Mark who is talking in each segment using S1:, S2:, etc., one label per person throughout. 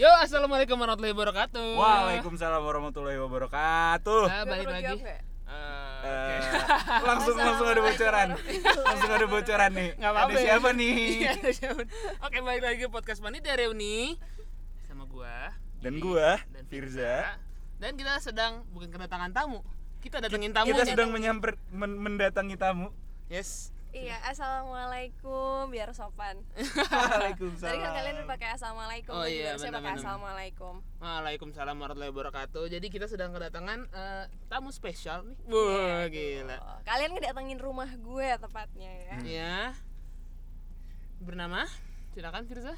S1: Yo, assalamualaikum warahmatullahi wabarakatuh.
S2: Waalaikumsalam warahmatullahi wabarakatuh.
S1: Ah, balik
S3: Perlu
S1: lagi.
S3: jawab nggak?
S1: Ah,
S2: Eh,
S1: oke.
S2: langsung langsung ada bocoran. Langsung ada bocoran nih.
S1: Nggak apa-apa
S2: Ada
S1: ya.
S2: siapa nih?
S1: Iya, siapa- Oke, balik lagi ke podcast Panitia Reuni sama gua
S2: Dan
S1: Didi,
S2: gua,
S1: dan
S2: Firza.
S1: Dan kita sedang bukan kedatangan tamu. Kita datengin tamu.
S2: Kita sedang menyamper men- mendatangi tamu.
S1: Yes.
S3: Iya, assalamualaikum biar sopan.
S2: Waalaikumsalam.
S3: Tadi kan kalian udah pakai assalamualaikum,
S1: Oh
S3: gua
S1: iya,
S3: juga harusnya pakai
S1: benar-benar.
S3: assalamualaikum.
S1: Waalaikumsalam warahmatullahi wabarakatuh. Jadi kita sedang kedatangan eh, tamu spesial nih. Iya, Wah, gila.
S3: Oh, Kalian ngedatengin rumah gue tepatnya ya.
S1: Ya. Bernama? Silakan Firza.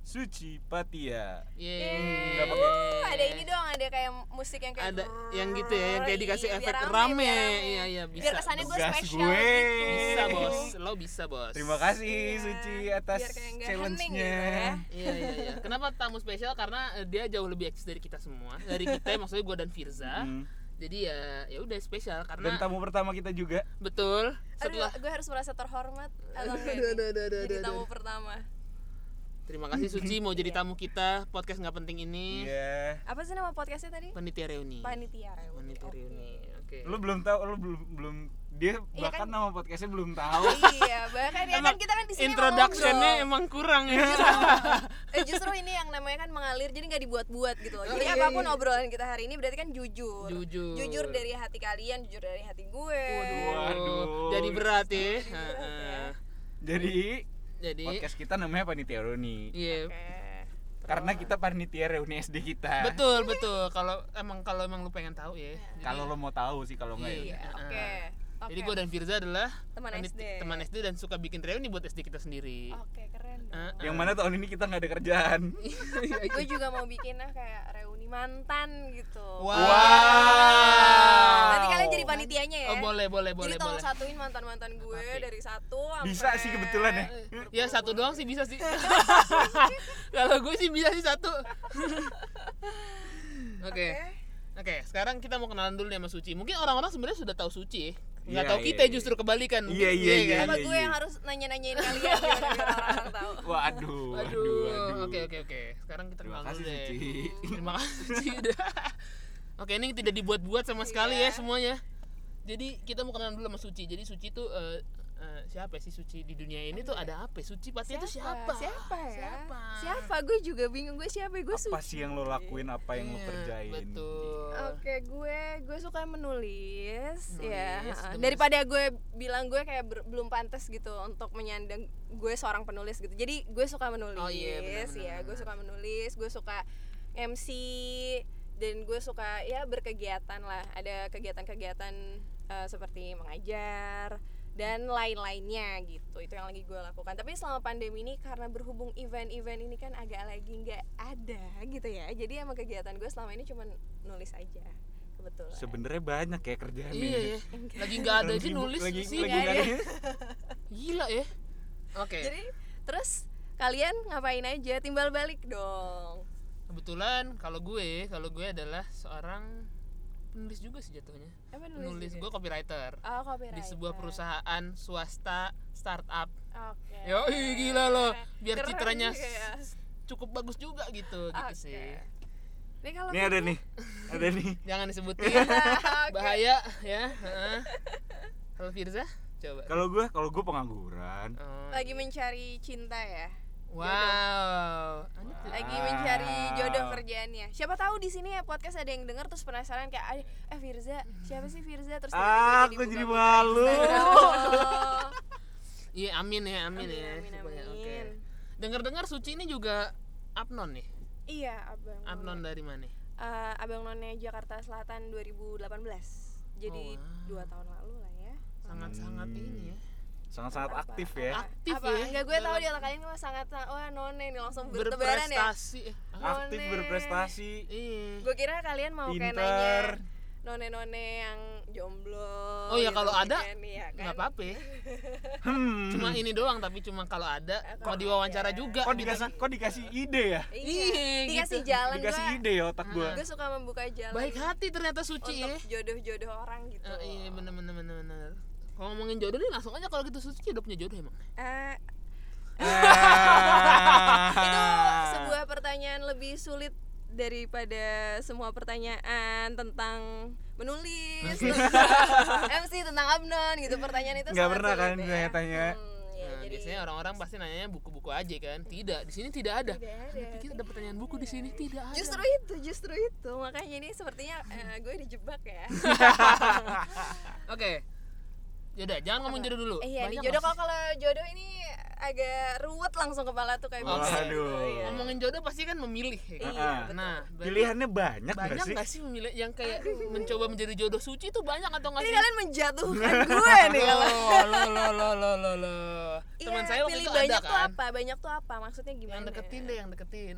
S2: Suci Patia.
S1: Yeay.
S2: Nggak pakai.
S3: Uh, ada ini dong, ada kayak musik yang kayak
S1: ada
S3: grrrr,
S1: yang gitu ya yang kayak
S3: iya,
S1: dikasih
S3: biar
S1: efek rame,
S3: biar
S1: iya iya bisa
S3: Biar kesannya gue
S2: Tugas
S3: spesial
S2: gue.
S3: gitu.
S1: bisa bos lo bisa bos
S2: Terima kasih
S3: Iya,
S2: Suci
S3: biar
S2: atas
S3: kayak nggak hening
S2: challenge-nya.
S3: gitu ya.
S1: iya iya iya kenapa tamu spesial karena eh, dia jauh lebih eksis dari kita semua dari kita maksudnya gue dan Firza
S2: Hmm.
S1: jadi ya ya udah spesial
S2: Dan
S1: karena
S2: tamu pertama kita juga.
S1: betul
S3: Aduh,
S1: setelah
S3: gue harus merasa terhormat atau enggak
S1: Aduh,
S3: nih?
S1: aduh, aduh, aduh,
S3: Jadi
S1: aduh.
S3: tamu pertama.
S1: terima kasih Suci mau
S3: Iya.
S1: jadi tamu kita podcast nggak penting
S3: Hmm.
S1: ini
S2: Iya.
S3: Apa sih nama podcastnya tadi?
S1: panitia reuni
S3: Panitia Reuni.
S1: panitia
S3: Oke.
S1: reuni oke
S2: Lu belum tahu, lu belum belum dia
S3: Iya
S2: bahkan
S3: kan?
S2: nama podcastnya belum tahu.
S3: iya, bahkan ya kan
S1: Emang
S3: kita kan di sini emang
S1: introductionnya
S3: ngobrol.
S1: emang kurang ya
S3: eh, justru ini yang namanya kan mengalir jadi nggak dibuat-buat gitu loh.
S1: Oh,
S3: Jadi
S1: iya,
S3: apapun
S1: iya.
S3: obrolan kita hari ini berarti kan jujur.
S1: Jujur.
S3: dari hati kalian, jujur dari hati gue.
S2: Waduh.
S1: jadi berat ya
S3: ya.
S2: Jadi
S1: jadi
S2: podcast kita namanya Panitia Reuni.
S1: iya
S3: Oke.
S2: Karena kita panitia reuni SD kita.
S1: betul betul kalau emang kalau emang lu pengen tahu ya Jadi-
S2: Kalau lo mau tahu sih kalau enggak
S3: Iya,
S2: ya.
S1: Ah.
S3: oke. Oke.
S1: jadi gue dan Firza adalah
S3: Teman
S1: penit-
S3: SD.
S1: teman SD dan suka bikin reuni buat SD kita sendiri
S3: Oke, keren dong.
S1: Ah,
S2: Yang mana tahun ini kita nggak ada kerjaan.
S3: Gue juga mau bikinnya kayak reuni mantan gitu.
S1: Wow.
S3: Nanti kalian jadi panitianya ya.
S1: oh boleh boleh boleh
S3: Jadi tolong
S1: boleh
S3: satuin mantan-mantan gue
S1: Apa-apa.
S3: dari satu sampai
S2: Bisa sih kebetulan ya.
S1: ya satu doang sih bisa sih kalau gue sih bisa sih satu oke
S3: Oke.
S1: Oke, sekarang kita mau kenalan dulu nih sama Suci. Mungkin orang-orang sebenarnya sudah tahu Suci, ya. nggak
S2: Iya,
S1: tahu
S2: iya,
S1: kita
S2: iya.
S1: justru kebalikan.
S2: Iya,
S1: Mungkin,
S2: iya, iya,
S3: Apa
S1: kan?
S3: gue yang harus nanya-nanyain kalian gimana biar orang-orang tahu?
S2: Waduh, waduh,
S1: Aduh,
S2: waduh.
S1: oke oke oke. Sekarang kita
S2: Terima
S1: kenalan
S2: kasih
S1: dulu deh.
S2: Suci.
S1: Terima kasih. Ci. Udah. Oke, ini tidak dibuat-buat sama sekali ya
S3: Iya.
S1: semuanya. Jadi kita mau kenalan dulu sama Suci. Jadi Suci tuh eh, eh, siapa sih Suci di dunia ini tuh ada apa? Suci pasti itu siapa?
S3: Siapa ya?
S1: Siapa?
S3: Siapa? Gue juga bingung gue siapa. ya? Gue
S2: Apa
S3: suci.
S2: sih yang lo lakuin, apa yang lo
S1: Iya,
S2: kerjain?
S1: Betul.
S3: Oke, gue gue suka menulis,
S1: Menulis,
S3: ya.
S1: terus-
S3: Daripada gue bilang gue kayak ber- belum pantas gitu untuk menyandang gue seorang penulis gitu. Jadi gue suka menulis,
S1: Oh, iya, benar, benar,
S3: ya. Gue
S1: benar.
S3: suka menulis, gue suka MC dan gue suka ya berkegiatan lah. Ada kegiatan-kegiatan eh, seperti mengajar dan lain-lainnya gitu itu yang lagi gue lakukan tapi selama pandemi ini karena berhubung event-event ini kan agak lagi nggak ada gitu ya jadi emang kegiatan gue selama ini cuman nulis aja kebetulan
S2: Sebenarnya banyak ya kerjaan
S1: Iya ya. Lagi nggak ada aja nulis
S2: lagi,
S1: sih.
S2: lagi nggak ada.
S1: Gila ya. Oke.
S3: jadi terus kalian ngapain aja timbal balik dong
S1: Kebetulan kalau gue, kalau gue adalah seorang penulis juga sih jatuhnya.
S3: apa nulis,
S1: Penulis
S3: juga?
S1: gue copywriter.
S3: oh, copywriter.
S1: di sebuah perusahaan swasta startup.
S3: oke
S1: Yo, ih, gila loh. Biar
S3: Keren
S1: citranya
S3: juga ya.
S1: s- cukup bagus juga gitu, gitu
S3: Oke.
S1: sih.
S3: ini kalau
S2: Nih ada nih, ada nih.
S1: Jangan disebutin,
S3: Oke.
S1: bahaya ya. heeh. Kalau Firza, coba.
S2: Kalau gue, kalau gue pengangguran.
S1: Oh.
S3: lagi mencari cinta ya
S1: Wow. Anda tuh-
S3: lagi
S2: Ah.
S3: mencari jodoh
S2: Wow.
S3: kerjaannya siapa tahu di sini ya podcast ada yang dengar terus penasaran kayak "Ay, eh Firza siapa sih Firza terus
S2: Ah,
S3: tiba-tiba
S2: aku jadi
S3: buka-buka
S2: malu.
S3: Instagram.
S1: Iya, amin ya, Oh. amin,
S3: Amin,
S1: ya.
S3: amin,
S1: Supaya-
S3: amin.
S1: Oke. Dengar-dengar Suci ini juga Apnon nih.
S3: iya abang
S1: Apnon
S3: None.
S1: dari mana?
S3: Eh, abang none Jakarta Selatan 2018
S1: Oh,
S3: jadi
S1: wow.
S3: dua tahun lalu lah ya
S1: Sangat-sangat
S2: Hmm.
S1: ini ya.
S2: Sangat-sangat
S3: Apa?
S2: aktif ya.
S1: Aktif
S3: apa
S1: ya.
S3: enggak gue tahu
S1: dalam
S3: di otak kalian gue sangat wah none nih langsung bertebaran ya
S1: Berprestasi. Ah,
S2: Aktif
S3: None.
S2: berprestasi.
S1: Iya.
S3: gue kira kalian mau kayak nanya
S2: Pinter.
S3: none-none yang jomblo
S1: Oh iya,
S3: gitu
S1: kalau ada,
S3: kan, iya
S1: nggak
S3: kan?
S1: apa-apa ya.
S2: Hmm.
S1: cuma ini doang tapi cuma kalau ada
S3: Eh,
S1: mau
S3: kalau
S1: diwawancara
S3: ada.
S1: juga gitu.
S2: Kok dikasih, kok dikasih ide ya?
S1: Iya,
S3: Iya, dikasih
S1: gitu.
S3: jalan
S2: Dikasih
S3: gua-
S2: ide ya otak gue.
S3: Gue suka membuka jalan
S1: baik hati ternyata suci ya
S3: untuk jodoh-jodoh orang gitu.
S1: Eh, iya bener bener bener bener kalau ngomongin jodoh nih langsung aja kalau gitu suci udah punya jodoh emang
S3: Eh,
S2: Ah.
S3: itu sebuah pertanyaan lebih sulit daripada semua pertanyaan tentang menulis tentang MC tentang Abnon gitu pertanyaan itu
S2: Nggak
S3: sangat
S2: pernah
S3: sulit
S2: kan
S3: ya.
S2: tanya-tanya?
S3: Hmm, ya,
S1: Nah,
S3: jadi
S1: biasanya orang-orang pasti nanyanya buku-buku aja kan tidak di sini tidak ada
S3: Tidak ada.
S1: Anda pikir ada pertanyaan buku di sini tidak ada
S3: justru ya. itu justru itu makanya ini sepertinya eh, gue dijebak ya
S1: oke Yaudah, jangan ngomong jodoh dulu.
S3: iya di
S1: Banyak
S3: jodoh
S1: pasti-
S3: kalau kalau jodoh ini agak ruwet langsung kepala tuh kayak
S1: Oke.
S3: bisa
S2: Waduh.
S3: iya.
S1: ngomongin jodoh pasti kan memilih. ya kan?
S3: Iya,
S2: betul.
S1: Nah, berarti
S2: Pilihannya banyak, nggak
S1: banyak
S2: sih?
S1: nggak sih memilih yang kayak mencoba menjadi jodoh suci itu banyak atau nggak
S3: ini
S1: sih?
S3: kalian menjatuhkan gue nih
S1: lo,
S3: kalau
S1: lo, lo, lo, lo, lo, lo. Teman
S3: Iya,
S1: saya waktu
S3: pilih
S1: itu ada
S3: banyak tuh
S1: kan.
S3: apa banyak tuh apa maksudnya gimana
S1: Yang deketin deh, yang deketin.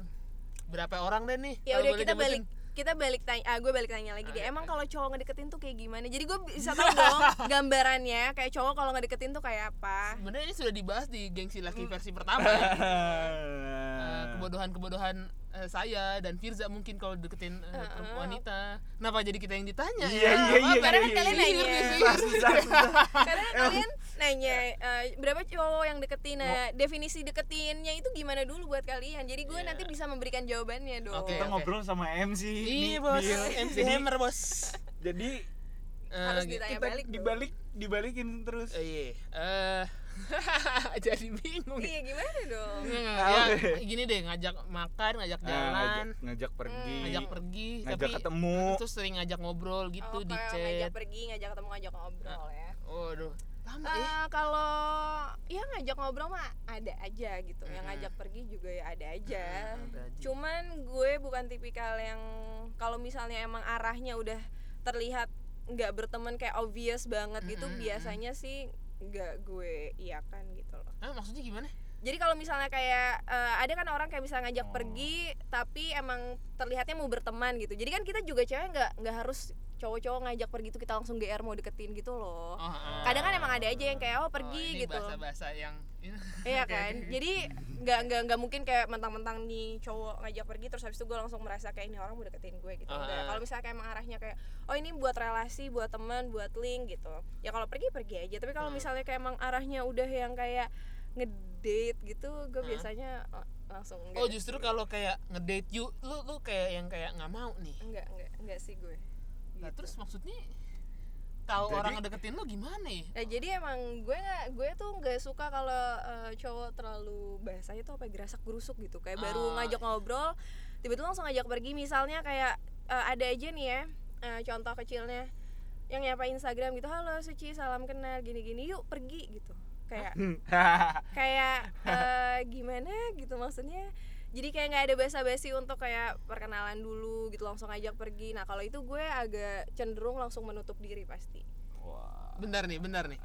S1: Berapa orang deh nih?
S3: ya
S1: Kalau
S3: udah
S1: boleh
S3: kita
S1: nyebutin.
S3: balik kita balik tanya ah gue balik tanya
S1: Ah,
S3: lagi
S1: iya,
S3: deh emang
S1: iya.
S3: kalau cowok ngedeketin tuh kayak gimana jadi gue bisa tahu dong gambarannya kayak cowok kalau ngedeketin tuh kayak apa
S1: Sebenarnya ini sudah dibahas di gengsi laki
S2: Hmm.
S1: versi pertama. ya. Eh, kebodohan-kebodohan eh, saya dan Firza mungkin kalau deketin eh, perempuan wanita. Kenapa jadi kita yang ditanya?
S2: Iya,
S1: ya?
S2: iya, iya,
S1: Apa? Karena
S2: iya,
S1: kan
S2: iya,
S1: kalian
S3: iya.
S1: nanya.
S2: Susah, susah,
S1: Iya,
S2: susah.
S3: karena kan kalian
S1: Ya.
S3: nanya eh, berapa cowok yang deketin nah, definisi deketinnya itu gimana dulu buat kalian jadi gue
S1: Iya.
S3: nanti bisa memberikan jawabannya dong
S1: Oke.
S2: Kita ngobrol sama MC.
S1: Iya,
S2: nih,
S1: Bos.
S2: Bill.
S1: MC
S2: Jadi-
S1: Hammer, Bos.
S2: Jadi
S1: Eh,
S3: Harus
S1: gitu.
S3: ditanya
S2: kita
S3: balik dong.
S2: dibalik dibalikin terus.
S1: Eh, Iya. Eh, jadi bingung.
S3: iya gimana dong
S1: Nggak, nggak,
S2: Ah, oke.
S1: ya, gini deh ngajak makan, ngajak
S2: Nah,
S1: jalan, Hmm,
S2: ngajak, ngajak pergi,
S1: ngajak pergi,
S2: ngajak
S1: tapi
S2: ketemu.
S1: terus sering ngajak ngobrol gitu
S3: Oh,
S1: di
S3: kalau ngajak
S1: chat. Ah.
S3: pergi ngajak ketemu ngajak ngobrol ya
S1: Waduh, lama ya.
S3: Eh, kalau ya ngajak ngobrol mah ada aja gitu
S1: Mm-mm.
S3: yang ngajak pergi juga ya ada aja
S1: Mm-mm, ada aja.
S3: cuman gue bukan tipikal yang kalau misalnya emang arahnya udah terlihat nggak berteman kayak obvious banget gitu
S1: Mm-mm,
S3: biasanya sih nggak gue iakan gitu loh
S1: Ah, maksudnya gimana?
S3: jadi kalau misalnya kayak eh, ada kan orang kayak bisa ngajak
S2: Oh.
S3: pergi tapi emang terlihatnya mau berteman gitu jadi kan kita juga cewek nggak nggak harus cowok-cowok ngajak pergi tuh kita langsung gr mau deketin gitu loh
S1: Oh, ah.
S3: kadang kan emang ada aja yang kayak oh pergi
S1: ini
S3: gitu
S1: Bahasa-bahasa yang
S3: iya kan jadi nggak nggak nggak mungkin kayak mentang-mentang nih cowok ngajak pergi terus habis itu gue langsung merasa kayak ini orang mau deketin gue gitu
S1: Ah,
S3: Nggak.
S1: ah.
S3: kalau misalnya kayak emang arahnya kayak oh ini buat relasi buat teman buat link gitu ya kalau pergi pergi aja tapi kalau
S1: Hmm.
S3: misalnya kayak emang arahnya udah yang kayak ngedate gitu gue
S1: Ah.
S3: biasanya la- langsung
S1: Oh, justru kalau kayak ngedate you, lu lu kayak yang kayak nggak mau nih.
S3: enggak enggak enggak sih gue
S1: Nah,
S3: Eh, Gitu.
S1: terus maksudnya tahu
S2: Jadi-
S1: orang ngedeketin lu gimana ya?
S3: Nah jadi emang gue nggak gue tuh nggak suka kalau eh, cowok terlalu bahasanya tuh apa ya, gerasak gerusuk gitu kayak baru
S1: Ah.
S3: ngajak ngobrol tiba-tiba langsung ngajak pergi misalnya kayak eh, ada aja nih ya eh, contoh kecilnya yang nyapa Instagram gitu halo Suci salam kenal gini-gini yuk pergi gitu kayak kayak eh, gimana gitu maksudnya jadi kayak nggak ada basa-basi untuk kayak perkenalan dulu gitu langsung ngajak pergi nah kalau itu gue agak cenderung langsung menutup diri pasti
S2: Wah.
S1: Bentar nih, bentar nih.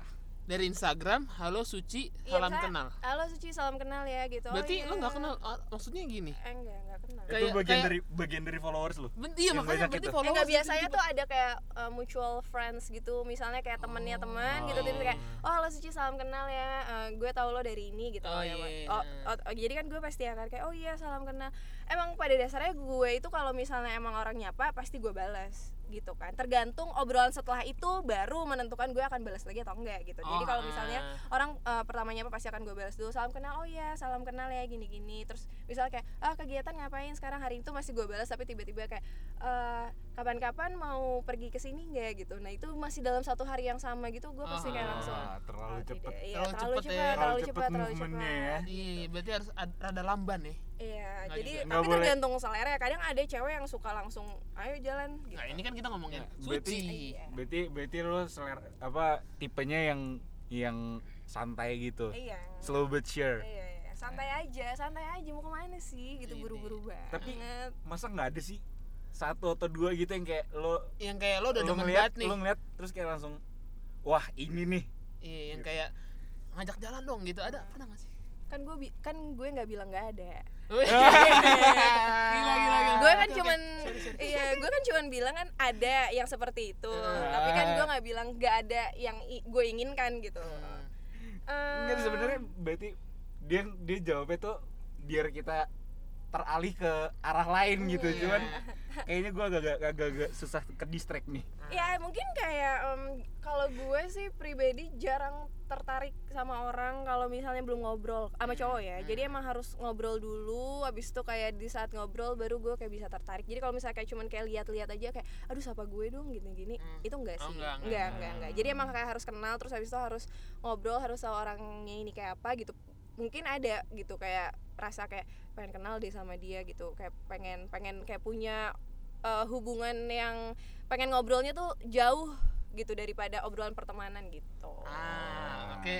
S1: Dari Instagram, halo Suci,
S3: Ah. Iya,
S1: salam
S3: misalnya,
S1: kenal.
S3: Halo Suci, salam kenal ya gitu.
S1: Berarti
S3: oh,
S1: lu
S3: iya.
S1: nggak kenal, ah, maksudnya gini.
S3: Eh, enggak, enggak kenal.
S1: Kayak-
S2: itu bagian
S1: kayak-
S2: dari bagian dari followers lo.
S1: Ben, iya
S2: Yang
S1: makanya
S2: banyak
S1: berarti gitu
S2: itu.
S3: Eh,
S1: follow
S3: enggak biasanya tuh ada kayak uh, mutual friends gitu. Misalnya kayak
S1: Oh.
S3: temennya teman gitu tiba kayak, "Oh, halo Suci, salam kenal ya. Eh, gue tahu lo dari ini" gitu.
S1: Oh,
S3: Ya,
S1: iya.
S3: oh, oh, oh, jadi kan gue pasti akan kayak, "Oh iya, salam kenal." Emang pada dasarnya gue itu kalau misalnya emang orang nyapa pasti gue balas gitu kan. Tergantung obrolan setelah itu baru menentukan gue akan balas lagi atau enggak gitu.
S1: Oh,
S3: Jadi kalau misalnya
S1: ah.
S3: orang eh, pertamanya apa pasti akan gue balas dulu salam kenal oh iya salam kenal ya gini gini terus misalnya kayak ah kegiatan ngapain sekarang hari itu masih gue balas tapi tiba-tiba kayak "Eh, kapan-kapan mau pergi ke sini nggak gitu nah itu masih dalam satu hari yang sama gitu gue pasti kayak
S1: Ah,
S3: langsung
S2: terlalu
S3: "Oh, tidak,
S2: cepet.
S1: Terlalu
S3: iya,
S1: cepet ya.
S3: terlalu cepat terlalu
S2: Terlalu cepet
S3: cepat terlalu
S2: movementnya
S3: cepat
S2: ya.
S1: Iya, iya, berarti harus ad- rada lamban ya.
S3: iya
S1: Nggak
S3: jadi
S1: juga.
S2: Nggak
S3: tapi
S2: boleh.
S3: tergantung selera ya. kadang ada cewek yang suka langsung ayo jalan gitu
S1: Nah, ini kan kita ngomongin
S2: Nah, berarti-
S1: Suci.
S3: Iya.
S2: Berarti berarti lo selera, apa tipenya yang yang santai gitu.
S3: iya
S2: Slow but sure.
S3: iya iya. santai aja santai aja mau kemana sih gitu
S1: Ini.
S3: buru-buru banget
S2: Tapi masa nggak ada sih satu atau dua gitu yang kayak lo
S1: Yang kayak lo udah
S2: lo
S1: demen
S2: ngeliat
S1: banget nih.
S2: lo ngeliat terus kayak langsung wah ini nih
S1: Iya, yang kayak ngajak jalan dong gitu. Ada pernah nggak sih?
S3: kan gue bi- kan gue nggak bilang nggak ada
S1: gila gila gila.
S3: gue kan
S1: Oke, oke.
S3: cuman
S1: Sorry, sorry. Iya.
S3: iya gue kan cuman bilang kan ada yang seperti itu tapi kan gue nggak bilang nggak ada yang i- gue inginkan gitu
S1: Ah. Hmm.
S3: Eh,
S2: nggak sebenarnya berarti dia dia jawabnya tuh biar kita teralih ke arah lain gitu
S3: Iya.
S2: cuman kayaknya gue agak agak, agak, agak susah ke distract nih
S1: Nah.
S3: ya mungkin kayak em, kalau gue sih pribadi jarang tertarik sama orang kalau misalnya belum ngobrol sama
S1: Hmm,
S3: cowok ya jadi emang harus ngobrol dulu abis itu kayak di saat ngobrol baru gue kayak bisa tertarik jadi kalau misalnya kayak cuman kayak lihat-lihat aja kayak aduh siapa gue dong gini-gini
S1: Hmm.
S3: itu enggak
S1: Oh,
S3: sih
S1: enggak, enggak,
S3: enggak enggak enggak jadi emang kayak harus kenal terus abis itu harus ngobrol harus tahu orangnya ini kayak apa gitu mungkin ada gitu kayak rasa kayak pengen kenal deh sama dia gitu kayak pengen pengen kayak punya eh, hubungan yang pengen ngobrolnya tuh jauh gitu daripada obrolan pertemanan gitu.
S1: Ah, oke.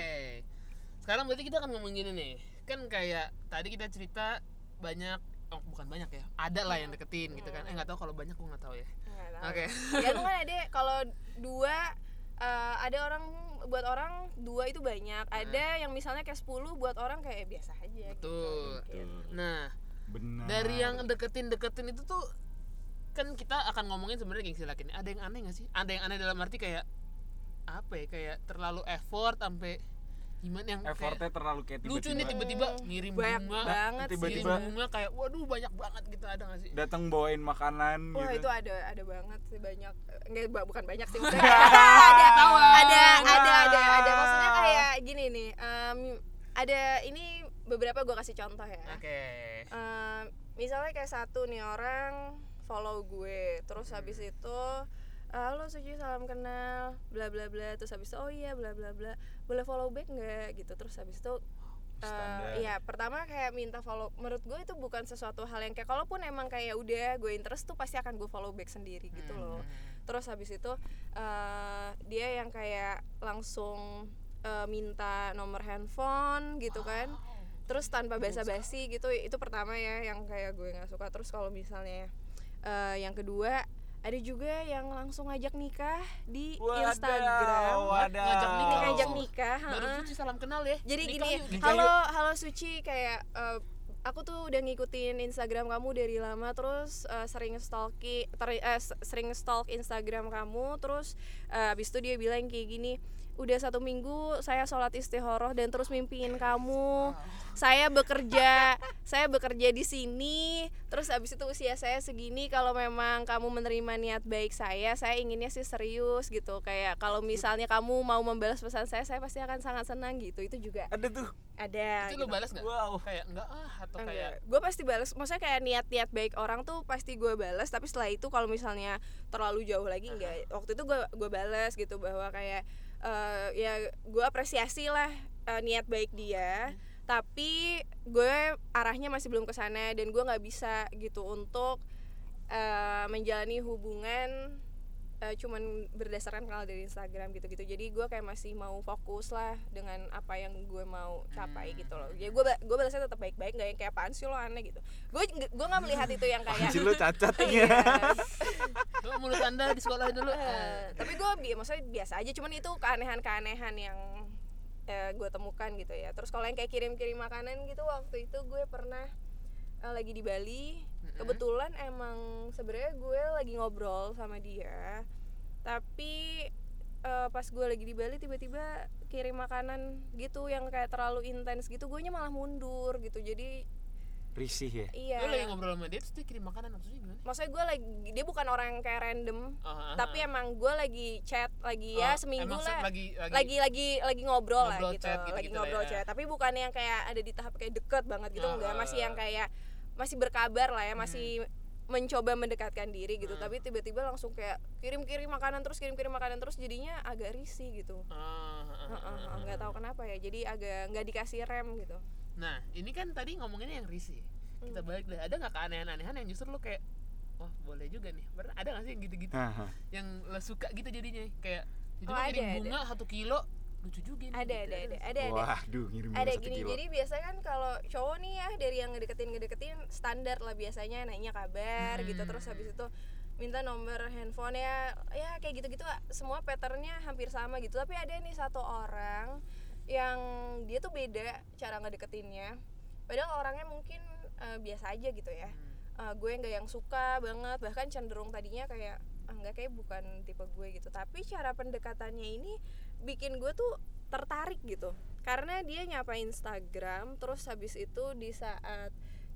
S1: Sekarang berarti kita akan ngomongin ini nih. Kan kayak tadi kita cerita banyak oh, bukan banyak ya. Ada lah yang deketin gitu kan. Eh nggak tahu kalau banyak gua nggak tahu ya.
S3: Nggak tahu.
S1: Oke.
S3: Dan kan ada kalau dua eh, ada orang buat orang dua itu banyak.
S1: Hmm.
S3: Ada yang misalnya kayak 10 buat orang kayak biasa aja gitu.
S1: Betul.
S3: Mungkin.
S1: Nah,
S2: benar
S1: dari yang deketin-deketin itu tuh kan kita akan ngomongin sebenarnya gengsi laki ini. Ada yang aneh nggak sih? Ada yang aneh dalam arti kayak apa ya? Kayak terlalu effort sampai gimana yang kayak
S2: effortnya terlalu kayak
S1: lucu nih
S2: tiba-tiba
S1: tiba-tiba ngirim
S3: Banyak
S1: bunga
S3: banget
S1: ngirim
S2: tiba-tiba.
S3: sih.
S1: bunga kayak waduh banyak banget gitu ada nggak sih
S2: datang bawain makanan
S3: Wah
S2: gitu
S3: itu ada ada banget sih banyak enggak ba- bukan banyak sih maksudnya ada ada ada ada ada maksudnya kayak gini nih em, ada ini beberapa gue kasih contoh ya
S1: oke
S3: Em, misalnya kayak satu nih orang follow gue terus habis itu halo suci salam kenal bla bla bla terus habis itu oh iya bla bla bla boleh follow back nggak gitu terus habis itu
S2: Standar.
S3: eh, iya pertama kayak minta follow menurut gue itu bukan sesuatu hal yang kayak kalaupun emang kayak udah gue interest tuh pasti akan gue follow back sendiri gitu loh terus habis itu eh, dia yang kayak langsung eh, minta nomor handphone gitu kan terus tanpa basa-basi gitu itu pertama ya yang kayak gue nggak suka terus kalau misalnya eh, yang kedua ada juga yang langsung ngajak nikah di
S2: Wadaw,
S3: Instagram
S2: wadaw.
S1: Ngajak
S3: Ini
S1: nikah.
S3: ngajak
S1: Oh.
S3: nikah
S1: baru
S3: heeh.
S1: Suci salam kenal ya
S3: jadi
S1: Nikah
S3: gini
S1: yuk, nikah
S3: halo
S1: yuk.
S3: halo Suci kayak eh, aku tuh udah ngikutin Instagram kamu dari lama terus eh, sering stalki ter- eh, s- sering stalk Instagram kamu terus eh, abis itu dia bilang kayak gini udah satu minggu saya sholat istihoroh dan terus mimpiin kamu saya bekerja saya bekerja di sini terus abis itu usia saya segini kalau memang kamu menerima niat baik saya saya inginnya sih serius gitu kayak kalau misalnya kamu mau membalas pesan saya saya pasti akan sangat senang gitu itu juga
S2: ada tuh
S3: ada gitu.
S1: itu lo balas nggak
S2: wow
S1: kayak enggak ah atau kayak
S3: gue pasti balas maksudnya kayak niat-niat baik orang tuh pasti gue balas tapi setelah itu kalau misalnya terlalu jauh lagi enggak waktu itu gue gue balas gitu bahwa kayak eh, ya gue apresiasi lah eh, niat baik dia tapi gue arahnya masih belum ke sana dan gue nggak bisa gitu untuk eh, menjalani hubungan eh, cuman berdasarkan kenal dari Instagram gitu-gitu jadi gue kayak masih mau fokus lah dengan apa yang gue mau capai gitu loh ya gue gue balasnya tetap baik-baik nggak yang kayak apaan sih lo aneh gitu gue gue nggak melihat itu yang kayak
S2: Anjir lu cacat ya.
S3: Iya.
S1: lo menurut anda di sekolah dulu
S3: Eh, tapi gue bi maksudnya biasa aja cuman itu keanehan-keanehan yang gue temukan gitu ya terus kalau yang kayak kirim-kirim makanan gitu waktu itu gue pernah eh, lagi di Bali kebetulan emang sebenarnya gue lagi ngobrol sama dia tapi eh, pas gue lagi di Bali tiba-tiba kirim makanan gitu yang kayak terlalu intens gitu gue malah mundur gitu jadi
S2: risih ya
S3: iya
S1: Ah. lo lagi ngobrol sama dia terus dia kirim makanan maksudnya gimana
S3: maksudnya gue lagi dia bukan orang yang kayak random
S1: Oh, ah,
S3: tapi
S1: ah.
S3: emang gue lagi chat lagi
S1: Oh,
S3: ya seminggu
S1: emang set
S3: lah
S1: lagi lagi,
S3: lagi lagi lagi ngobrol, lah
S1: Ngobrol
S3: gitu,
S1: chat gitu-gitu
S3: lagi
S1: lah
S3: ngobrol
S1: ya.
S3: chat tapi bukan yang kayak ada di tahap kayak deket banget gitu
S1: Ah,
S3: enggak
S1: ah,
S3: masih yang
S1: ah.
S3: kayak masih berkabar lah ya masih mencoba mendekatkan diri gitu
S1: Hmm.
S3: tapi tiba-tiba langsung kayak kirim-kirim makanan terus kirim-kirim makanan terus jadinya agak risih gitu
S1: Ah, ah, ah,
S3: Heeh,
S1: ah,
S3: heeh,
S1: ah.
S3: nggak tahu kenapa ya jadi agak nggak dikasih rem gitu
S1: nah ini kan tadi ngomonginnya yang risih kita
S3: Hmm.
S1: balik deh ada nggak keanehan-anehan yang justru lo kayak wah boleh juga nih Pernah- ada nggak sih yang gitu-gitu yang lo suka gitu jadinya kayak jadi
S3: Oh,
S1: lo
S3: ada,
S1: kirim
S3: ada.
S1: bunga satu kilo lucu juga nih gitu.
S3: ada ada ada
S1: nggak sih?
S3: ada ada
S2: waduh ngirim
S3: ada
S2: satu
S3: gini
S2: kilo
S3: jadi biasanya kan kalau cowok nih ya dari yang ngedeketin ngedeketin standar lah biasanya nanya kabar gitu terus habis itu minta nomor handphone ya ya kayak gitu gitu semua patternnya hampir sama gitu tapi ada nih satu orang yang dia tuh beda cara ngedeketinnya padahal orangnya mungkin eh, biasa aja gitu ya Eh, gue nggak yang suka banget bahkan cenderung tadinya kayak "Ah, nggak kayak bukan tipe gue gitu tapi cara pendekatannya ini bikin gue tuh tertarik gitu karena dia nyapa Instagram terus habis itu di saat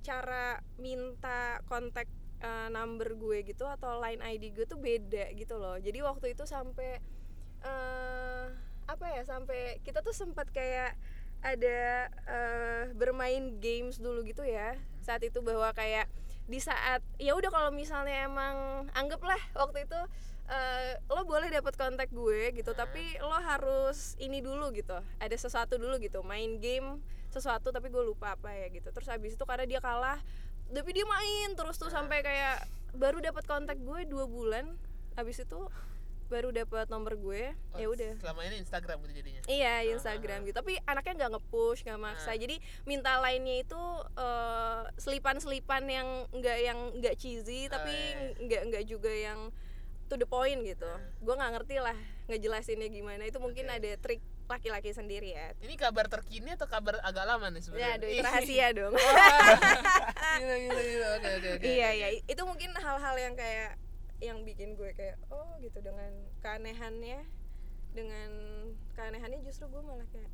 S3: cara minta kontak eh, number gue gitu atau line ID gue tuh beda gitu loh jadi waktu itu sampai eh apa ya sampai kita tuh sempat kayak ada eh, bermain games dulu gitu ya saat itu bahwa kayak di saat ya udah kalau misalnya emang anggaplah waktu itu eh, lo boleh dapat kontak gue gitu tapi lo harus ini dulu gitu ada sesuatu dulu gitu main game sesuatu tapi gue lupa apa ya gitu terus habis itu karena dia kalah tapi dia main terus tuh sampai kayak baru dapat kontak gue dua bulan habis itu baru dapat nomor gue
S1: Oh,
S3: ya udah
S1: selama ini Instagram gitu jadinya
S3: Iya Instagram gitu, tapi anaknya nggak nge-push, nggak
S1: Nah.
S3: maksa. Jadi minta lainnya itu eh, selipan-selipan yang nggak yang nggak cheesy,
S1: Oh,
S3: tapi
S1: iya, Nah.
S3: nggak nggak juga yang to the point gitu. Gue nggak ngerti lah ngejelasinnya gimana. Itu mungkin
S1: Oke.
S3: ada trik laki-laki sendiri ya.
S1: ini kabar terkini atau kabar agak lama nih
S3: Ya,
S1: sebenarnya iya.
S3: aduh, itu rahasia dong.
S1: gila gila gila oke oke oke
S3: iya iya, itu mungkin hal-hal yang kayak yang bikin gue kayak oh gitu dengan keanehannya dengan keanehannya justru gue malah kayak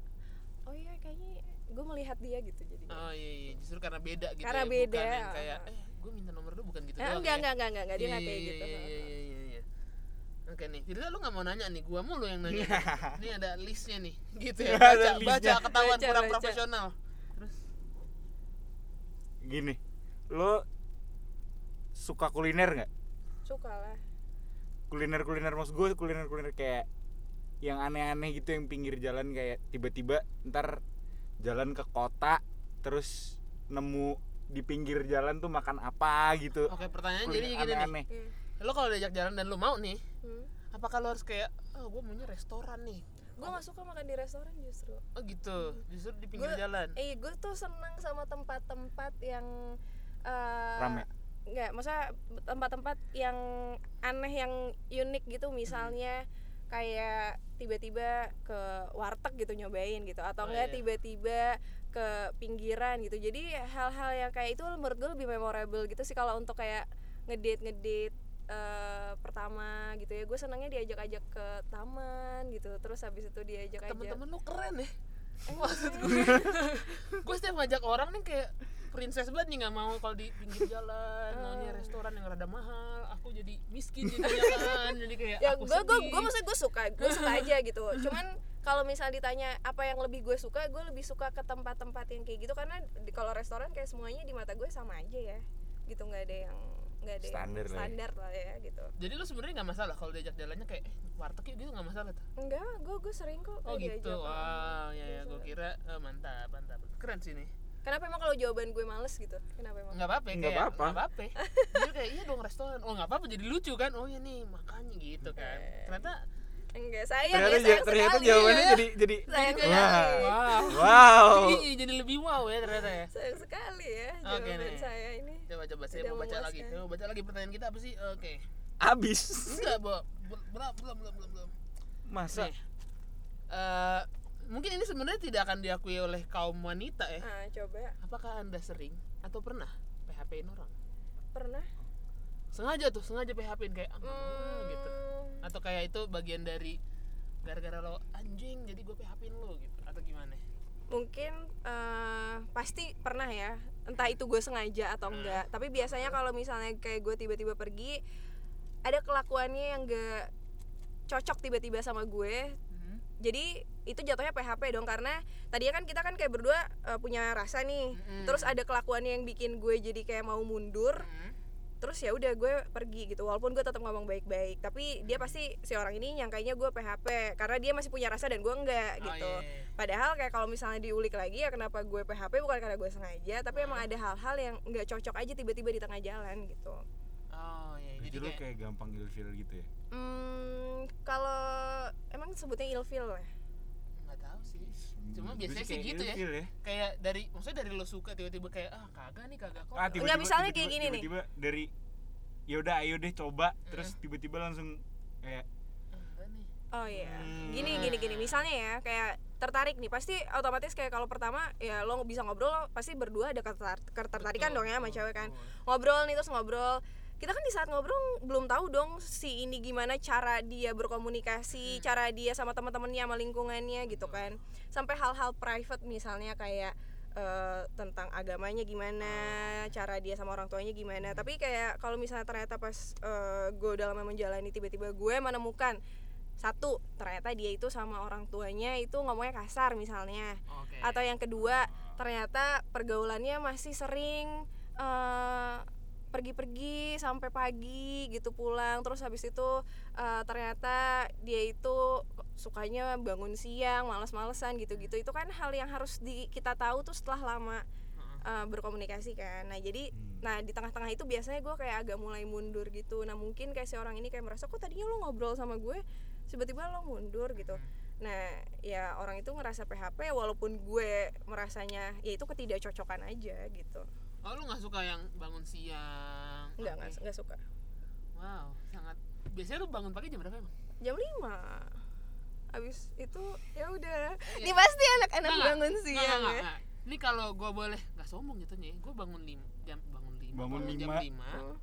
S3: oh iya kayaknya gue melihat dia gitu jadi
S1: oh iya iya justru karena beda gitu
S3: Karena
S1: ya,
S3: beda,
S1: bukan yang kayak
S3: ah.
S1: eh gue minta nomor lu bukan gitu
S3: Ah,
S1: doang
S3: enggak,
S1: ya.
S3: enggak, enggak, enggak, enggak, dia enggak
S1: Iya,
S3: kayak
S1: iya,
S3: gitu.
S1: iya, iya, iya, iya, iya. Oke nih, Firda lu gak mau nanya nih, gua mulu yang nanya Ini ada listnya nih, gitu ya
S2: Iya. Ada
S1: Baca,
S2: listnya.
S1: baca ketahuan
S3: Baca,
S1: kurang
S3: baca.
S1: profesional Terus,
S2: Gini, lo suka kuliner nggak?
S3: Suka lah.
S2: Kuliner kuliner maksud gue kuliner kuliner kayak yang aneh-aneh gitu yang pinggir jalan kayak tiba-tiba ntar jalan ke kota terus nemu di pinggir jalan tuh makan apa gitu.
S1: oke pertanyaan Oh, jadi
S2: Kuliner
S1: gini nih
S2: aneh-aneh.
S3: Hmm.
S1: Lo kalau diajak jalan dan lu mau nih,
S3: Hmm.
S1: apakah lo harus kayak, oh gue maunya restoran nih
S3: Gue gak suka makan di restoran justru.
S1: Oh gitu, justru di pinggir
S3: Gua-
S1: jalan
S3: Eh, gue tuh senang sama tempat-tempat yang eh,
S2: Rame.
S3: Enggak, maksudnya tempat-tempat yang aneh yang unik gitu
S1: Hmm.
S3: misalnya kayak tiba-tiba ke warteg gitu nyobain gitu atau
S1: Oh,
S3: enggak
S1: iya.
S3: tiba-tiba ke pinggiran gitu. Jadi hal-hal yang kayak itu menurut gue lebih memorable gitu sih kalau untuk kayak ngedate ngedate eh, pertama gitu ya gue senangnya diajak-ajak ke taman gitu terus habis itu diajak-ajak
S1: Temen-temen lu keren ya
S3: Eh,
S1: Maksud gue, gue setiap ngajak orang nih kayak princess banget nih nggak mau kalau di pinggir jalan
S3: Ah.
S1: maunya restoran yang rada mahal aku jadi miskin jadi kan jadi kayak
S3: ya
S1: aku
S3: gue gue
S1: sedih.
S3: gue maksudnya gue suka gue suka aja gitu cuman kalau misalnya ditanya apa yang lebih gue suka gue lebih suka ke tempat-tempat yang kayak gitu karena di kalau restoran kayak semuanya di mata gue sama aja ya gitu nggak ada yang nggak ada yang
S2: Standar lah ya.
S3: standar lah ya gitu
S1: Jadi lu sebenarnya nggak masalah kalau diajak jalannya kayak eh, warteg yuk gitu nggak masalah tuh.
S3: enggak gue gue sering kok
S1: Oh
S3: kalau
S1: gitu.
S3: diajak.
S1: Wow, ya ya
S3: Biasa.
S1: gue kira eh, mantap, mantap. Keren sih nih.
S3: kenapa emang kalau jawaban gue males gitu kenapa emang
S1: Enggak apa-apa
S2: Nggak
S1: kayak
S2: apa-apa.
S1: nggak apa-apa. Jadi kayak iya dong restoran. Oh nggak apa-apa jadi lucu kan. Oh iya nih makanya gitu kan. Ternyata
S3: enggak sayang
S1: Iya,
S3: ya,
S2: Ternyata
S3: sayang
S2: ternyata
S3: sekali.
S2: jawabannya jadi jadi
S3: sayang
S1: Jadi
S3: sekali
S1: kayak-
S2: wah
S1: wow.
S2: wow.
S1: Iya, jadi lebih wow ya ternyata ya.
S3: sayang sekali ya
S1: Oke
S3: jawaban
S1: nih.
S3: saya ini
S1: Coba coba saya
S3: Tidak
S1: mau baca lagi.
S3: memuaskan.
S1: Coba baca lagi pertanyaan kita apa sih? Oke.
S2: Abis.
S1: Enggak, Bo. Belum belum belum belum belum.
S2: Masa
S1: Nih. Eh, mungkin ini sebenarnya tidak akan diakui oleh kaum wanita ya.
S3: ah coba
S1: Apakah Anda sering atau pernah PHP-in orang?
S3: pernah
S1: sengaja tuh sengaja PHP-in kayak ah, nggak mau
S3: hmm,
S1: gitu atau kayak itu bagian dari gara-gara lo anjing jadi gue PHP-in lo gitu atau gimana
S3: mungkin eh, pasti pernah ya entah itu gue sengaja atau
S1: Hmm.
S3: enggak tapi biasanya kalau misalnya kayak gue tiba-tiba pergi ada kelakuannya yang gak cocok tiba-tiba sama gue
S1: Hmm?
S3: jadi itu jatuhnya PHP dong karena tadinya kan kita kan kayak berdua eh, punya rasa nih
S1: Mm-mm.
S3: terus ada kelakuannya yang bikin gue jadi kayak mau mundur
S1: Oh,
S3: terus ya udah gue pergi gitu walaupun gue tetap ngomong baik-baik tapi dia pasti si orang ini nyangkainya gue PHP karena dia masih punya rasa dan gue enggak gitu
S1: Oh, iya, iya.
S3: Padahal kayak kalau misalnya diulik lagi ya kenapa gue PHP bukan karena gue sengaja, tapi emang ada hal-hal yang nggak cocok aja tiba-tiba di tengah jalan gitu.
S1: oh iya jadi
S2: jadi lo
S1: kayak
S2: kayak gampang ilfil gitu ya.
S3: Hmm, kalau emang sebutnya ilfil ya? lah.
S1: nggak tahu sih cuma
S2: Gua
S1: biasanya sih
S2: kayak
S1: gitu ya
S2: ilfil
S1: kayak dari maksudnya dari lo suka tiba-tiba kayak ah kagak nih kagak kok
S2: Ah, tiba-tiba,
S3: Enggak, misalnya kayak
S2: tiba-tiba-
S3: gini nih.
S2: Tiba-tiba dari ya udah ayo deh coba terus tiba-tiba langsung kayak
S1: Ah, enggak nih
S3: Oh iya. Gini gini gini misalnya ya kayak tertarik nih pasti otomatis kayak kalau pertama ya lo bisa ngobrol lo pasti berdua ada ketertar- ketertarikan dong ya sama cewek kan. Ngobrol nih terus ngobrol. Kita kan di saat ngobrol belum tahu dong si ini gimana cara dia berkomunikasi, cara dia sama teman-temannya sama lingkungannya gitu kan. Sampai hal-hal private misalnya kayak eh, tentang agamanya gimana, cara dia sama orang tuanya gimana. Tapi kayak kalau misalnya ternyata pas eh, gue dalam menjalani tiba-tiba gue menemukan satu ternyata dia itu sama orang tuanya itu ngomongnya kasar misalnya
S1: Oh, Oke.
S3: atau yang kedua ternyata pergaulannya masih sering eh, pergi-pergi sampai pagi gitu pulang terus habis itu eh, ternyata dia itu sukanya bangun siang malas-malesan gitu-gitu itu kan hal yang harus di, kita tahu tuh setelah lama eh, berkomunikasi kan nah jadi
S2: Hmm.
S3: nah di tengah-tengah itu biasanya gue kayak agak mulai mundur gitu nah mungkin kayak si orang ini kayak merasa kok tadinya lo ngobrol sama gue tiba-tiba lo mundur gitu
S1: Hmm.
S3: nah ya orang itu ngerasa PHP walaupun gue merasanya ya itu ketidakcocokan aja gitu
S1: Oh lu nggak suka yang bangun siang?
S3: nggak
S1: Oke.
S3: nggak nggak suka
S1: Wow, sangat. Biasanya lu bangun pagi jam berapa emang?
S3: jam 5 abis itu ya udah
S1: iya.
S3: ini pasti anak-anak
S1: Nggak,
S3: bangun
S1: nggak,
S3: siang
S1: nggak,
S3: ya
S1: nggak. Ini kalau gua boleh nggak sombong jatuhnya, ya. gua bangun lim, jam bangun lima,
S2: Bangun
S1: jam
S2: lima.
S1: lima.
S3: Hmm,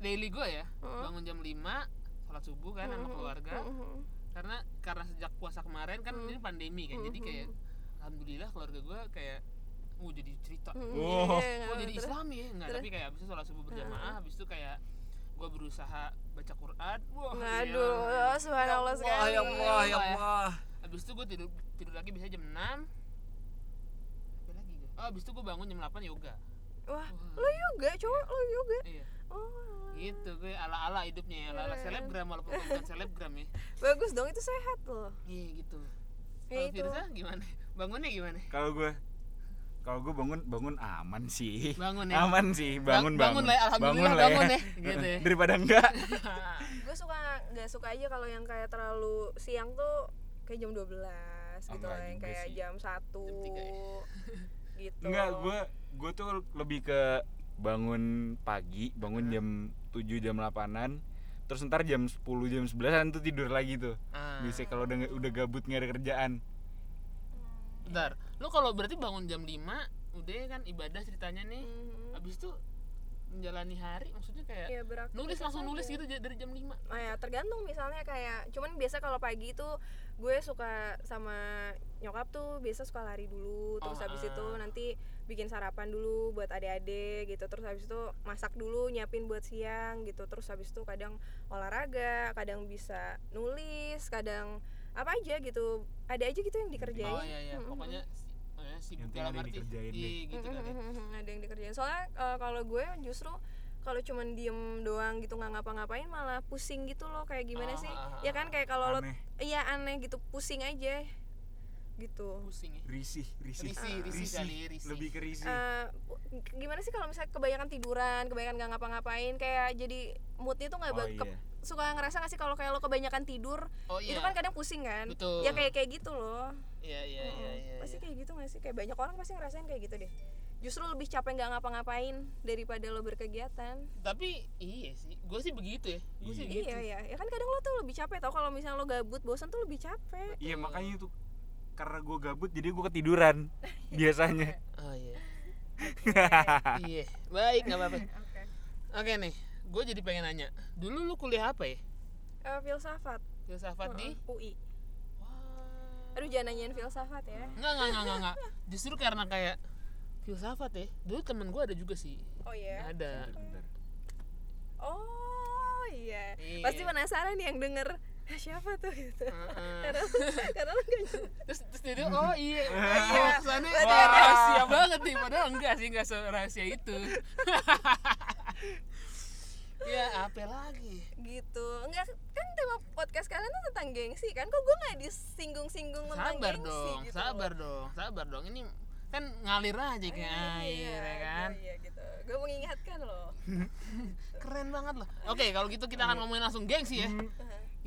S1: Daily gua ya,
S3: Hmm.
S1: bangun jam lima, sholat subuh kan sama
S3: hmm,
S1: keluarga.
S3: hmm, hmm.
S1: Karena karena sejak puasa kemarin kan
S3: Hmm.
S1: ini pandemi kan, jadi kayak alhamdulillah keluarga gua kayak mau jadi cerita.
S3: Hmm,
S2: Wow.
S3: iya, iya, nggak
S1: Gua jadi
S3: apa-apa.
S1: Islami ya, nggak
S3: terus.
S1: tapi kayak abis itu sholat subuh berjamaah, abis itu kayak gua berusaha baca Quran. Wah, gila.
S3: Aduh, subhanallah sekali.
S1: ya Allah. Abis itu gue tidur tidur lagi biasanya jam 6 Apa lagi gue? Oh, abis itu gue bangun jam 8 yoga Wah,
S3: Wah, lo yoga, cowok lo yoga.
S1: Iya
S3: Oh,
S1: Gitu, gue ala-ala hidupnya ya,
S3: Eh.
S1: Ala-ala selebgram walaupun gue bukan selebgram ya
S3: bagus dong itu sehat loh.
S1: Iya gitu Kalau
S3: Ya itu.
S1: Firza gimana? Bangunnya gimana?
S2: kalau gue kalau gue bangun bangun aman sih
S1: Bangun ya?
S2: aman sih bangun
S1: Bang- bangun
S2: bangun
S1: lah ya, alhamdulillah
S2: lah
S1: bangun ya, gitu ya.
S2: daripada enggak
S3: Gue suka nggak suka aja kalau yang kayak terlalu siang tuh kayak jam 12 gitu
S1: Oh,
S2: Enggak
S3: lah yang
S2: juga
S3: kayak
S2: sih.
S3: jam 1
S1: tiga ya.
S3: gitu.
S2: enggak gue gue tuh lebih ke bangun pagi bangun jam 7 jam 8an terus ntar jam 10 jam 11an tuh tidur lagi tuh
S1: Ah.
S2: biasanya kalau udah udah gabut nggak ada kerjaan
S1: Bentar, lu kalau berarti bangun jam 5 Udah kan ibadah ceritanya nih
S3: Mhm.
S1: Abis itu menjalani hari maksudnya kayak
S3: Ya, beraktivitas
S1: Nulis langsung nulis
S3: aja.
S1: gitu j- dari jam 5
S3: Oh ya, tergantung misalnya kayak cuman biasa kalau pagi itu gue suka sama nyokap tuh biasa suka lari dulu terus
S1: Oh,
S3: habis
S1: ah.
S3: itu nanti bikin sarapan dulu buat adik-adik gitu terus habis itu masak dulu nyiapin buat siang gitu terus habis itu kadang olahraga kadang bisa nulis kadang apa aja gitu ada aja gitu yang dikerjain
S1: Oh iya iya,
S3: Mm, mm,
S1: pokoknya si- eh, sibuk
S2: Yang
S1: dalam
S2: penting ada yang
S1: arti
S2: dikerjain
S1: iya,
S2: deh.
S1: gitu
S3: Hmm,
S1: kan. ya.
S3: ada yang dikerjain soalnya eh, kalau gue justru kalau cuman diem doang gitu nggak ngapa-ngapain malah pusing gitu loh kayak gimana
S1: Ah,
S3: sih
S1: ah,
S3: ya kan kayak kalau lo
S2: Aneh.
S3: iya aneh gitu pusing aja gitu
S1: Pusing ya.
S2: risih risih
S1: Risih, risih kali, risih. Ah.
S2: lebih ke risih
S3: Eh, pu- gimana sih kalau misalnya kebanyakan tiduran kebanyakan nggak ngapa-ngapain kayak jadi moodnya tuh nggak
S2: oh
S3: ba-
S2: iya
S3: ke- suka ngerasa nggak sih kalau kayak lo kebanyakan tidur
S1: Oh iya.
S3: itu kan kadang pusing kan
S1: Betul.
S3: ya kayak kayak gitu loh
S1: Iya iya iya
S3: Mm,
S1: iya.
S3: pasti
S1: iya.
S3: kayak gitu nggak sih kayak banyak orang pasti ngerasain kayak gitu deh justru lebih capek nggak ngapa-ngapain daripada lo berkegiatan
S1: Tapi iya sih, gue sih begitu ya. Gue sih gitu.
S3: iya ya ya kan kadang lo tuh lebih capek tau kalau misalnya lo gabut bosan tuh lebih capek
S2: iya makanya itu karena gue gabut jadi gue ketiduran biasanya
S1: Oh iya. iya, baik nggak apa-apa. Oke
S3: oke
S1: nih, gue jadi pengen nanya. Dulu lu kuliah apa ya?
S3: Eh, filsafat
S1: Filsafat di?
S3: Mm, UI
S1: Wah.
S3: aduh jangan nanyain filsafat ya
S1: Enggak enggak enggak enggak, enggak. Justru karena kayak filsafat ya. Dulu temen gue ada juga sih.
S3: oh iya
S1: Ada.
S2: Bentar.
S3: oh iya
S1: Iya.
S3: pasti penasaran nih yang denger "Ah, siapa tuh gitu
S1: Heeh.
S3: karena karena lo nggak nyoba.
S1: terus terus dia tuh, oh iya oh iya kesannya
S3: Berarti
S1: wah,
S3: ada-
S1: rahasia banget nih padahal enggak sih enggak rahasia itu ya apa lagi
S3: gitu enggak kan tema podcast kalian tuh tentang gengsi kan kok gue nggak disinggung-singgung tentang
S1: sabar
S3: gengsi
S1: dong
S3: gitu
S1: sabar dong sabar dong ini kan ngalir aja kayak
S3: Iya,
S1: air ya kan
S3: iya, iya, gitu gue mengingatkan loh iya.
S1: keren banget loh oke kalau gitu kita akan ngomongin langsung gengsi ya
S3: Hmm.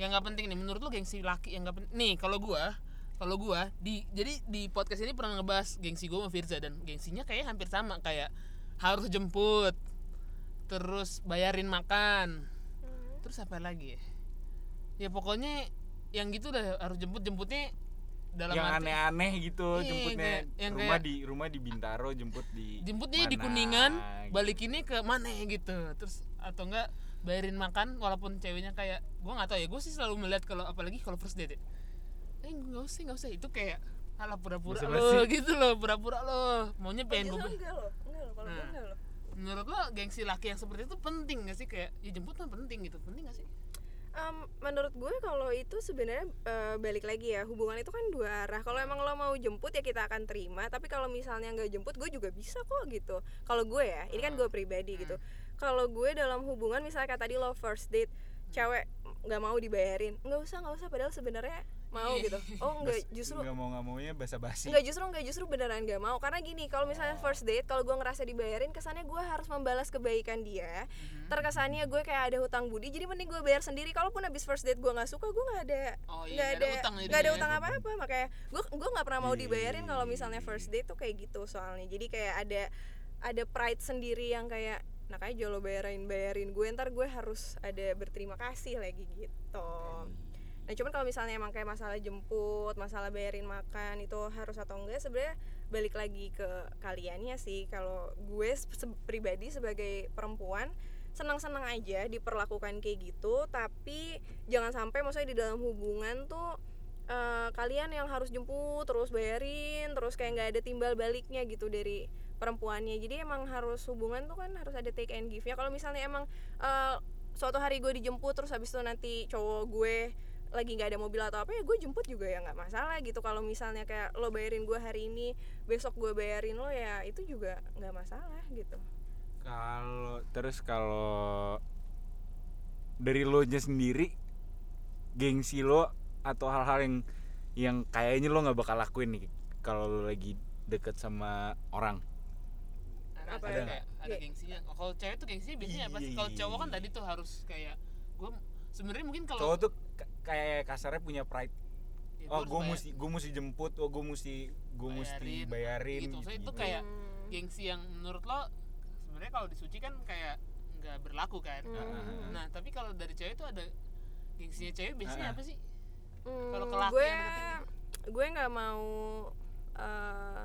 S1: yang nggak penting nih menurut lu gengsi laki yang nggak penting nih kalau gua kalau gua di jadi di podcast ini pernah ngebahas gengsi gua sama Firza dan gengsinya kayak hampir sama kayak harus jemput terus bayarin makan
S3: Hmm.
S1: terus apa lagi ya? ya pokoknya yang gitu udah harus jemput jemputnya dalam
S2: yang
S1: arti-
S2: aneh-aneh gitu
S1: Iya,
S2: jemputnya
S1: kayak- yang
S2: rumah
S1: kayak-
S2: di rumah di Bintaro jemput di
S1: jemputnya di
S2: mana,
S1: kuningan
S2: gitu.
S1: balikinnya ke mana gitu terus atau enggak bayarin makan walaupun ceweknya kayak gua nggak tahu ya gue sih selalu melihat kalau apalagi kalau first date ya. eh nggak usah nggak usah itu kayak alah pura-pura
S2: Basa-basi.
S1: lo gitu loh pura-pura lo maunya pengen
S3: Kalau
S1: gue
S3: enggak loh, enggak loh, kalau gue
S1: Nah.
S3: enggak loh.
S1: menurut lo gengsi laki yang seperti itu penting gak sih kayak ya jemput mah penting gitu penting gak sih
S3: Em, menurut gue kalau itu sebenarnya eh, balik lagi ya hubungan itu kan dua arah kalau emang lo mau jemput ya kita akan terima tapi kalau misalnya nggak jemput gue juga bisa kok gitu kalau gue ya ini kan gue pribadi gitu kalau gue dalam hubungan misalnya kayak tadi lo first date cewek nggak mau dibayarin nggak usah nggak usah padahal sebenarnya mau gitu oh nggak justru
S2: nggak mau nggak maunya basa-basi
S3: Enggak justru enggak justru beneran enggak mau karena gini kalau
S1: Oh.
S3: misalnya first date kalau gue ngerasa dibayarin kesannya gue harus membalas kebaikan dia
S1: Hmm.
S2: Mhm.
S3: terkesannya gue kayak ada hutang budi jadi mending gue bayar sendiri kalaupun habis first date gue nggak suka gue nggak ada
S1: Oh iya, nggak
S3: nggak
S1: ada utang
S3: ada
S1: jadinya
S3: nggak ada
S1: ya.
S3: utang apa apa makanya gue gue nggak pernah mau
S2: Iya,
S3: dibayarin
S2: iya,
S3: kalau
S2: iya,
S3: misalnya first date tuh kayak gitu soalnya jadi kayak ada ada pride sendiri yang kayak nah kayak jolo bayarin bayarin gue ntar gue harus ada berterima kasih lagi gitu Nah cuman kalau misalnya emang kayak masalah jemput, masalah bayarin makan itu harus atau enggak sebenarnya balik lagi ke kaliannya sih. Kalau gue se- se- pribadi sebagai perempuan senang-senang aja diperlakukan kayak gitu, tapi jangan sampai maksudnya di dalam hubungan tuh eh, kalian yang harus jemput terus bayarin terus kayak nggak ada timbal baliknya gitu dari perempuannya jadi emang harus hubungan tuh kan harus ada take and give ya kalau misalnya emang eh, suatu hari gue dijemput terus habis itu nanti cowok gue lagi nggak ada mobil atau apa ya gue jemput juga ya nggak masalah gitu kalau misalnya kayak lo bayarin gue hari ini besok gue bayarin lo ya itu juga nggak masalah gitu
S2: kalau terus kalau dari lo nya sendiri gengsi lo atau hal-hal yang yang kayaknya lo nggak bakal lakuin nih kalau lo lagi deket sama orang
S1: ada
S3: Apa
S1: ada,
S2: ya?
S1: kayak, ada
S3: Iya.
S1: gengsinya kalau cewek tuh gengsinya biasanya
S2: Iya,
S1: apa sih kalau cowok kan tadi tuh harus kayak gue sebenarnya mungkin
S2: cowok
S1: kalau
S2: tuh k- kayak kasarnya punya pride
S1: ya,
S2: oh
S1: harus
S2: gue
S1: bayar-
S2: mesti gue mesti jemput oh gue mesti gue mesti
S1: Bayarin,
S2: bayarin
S1: gitu. Maksudnya itu
S2: gitu-gitu.
S1: kayak-
S3: Hmm.
S1: gengsi yang menurut lo sebenarnya kalau disuci kan kayak nggak berlaku kan
S3: Hmm.
S1: nah tapi kalau dari cewek tuh ada gengsinya cewek biasanya
S2: Ah.
S1: apa sih
S3: Hmm,
S1: Kalau ke laki
S3: gue
S1: yang deketin.
S3: gue nggak mau eh,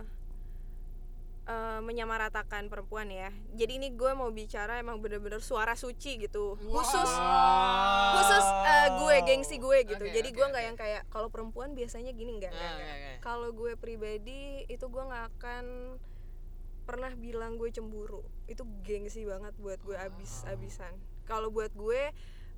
S3: eh, menyamaratakan perempuan ya jadi ini gue mau bicara emang bener-bener suara suci gitu khusus
S1: Wow.
S3: khusus eh, gue gengsi gue gitu
S1: Oke,
S3: jadi
S1: oke,
S3: gue nggak
S1: oke.
S3: yang kayak kalau perempuan biasanya gini nggak nggak,
S1: Ah,
S3: nggak.
S1: oke, oke.
S3: kalau gue pribadi itu gue nggak akan pernah bilang gue cemburu itu gengsi banget buat gue abis abisan kalau buat gue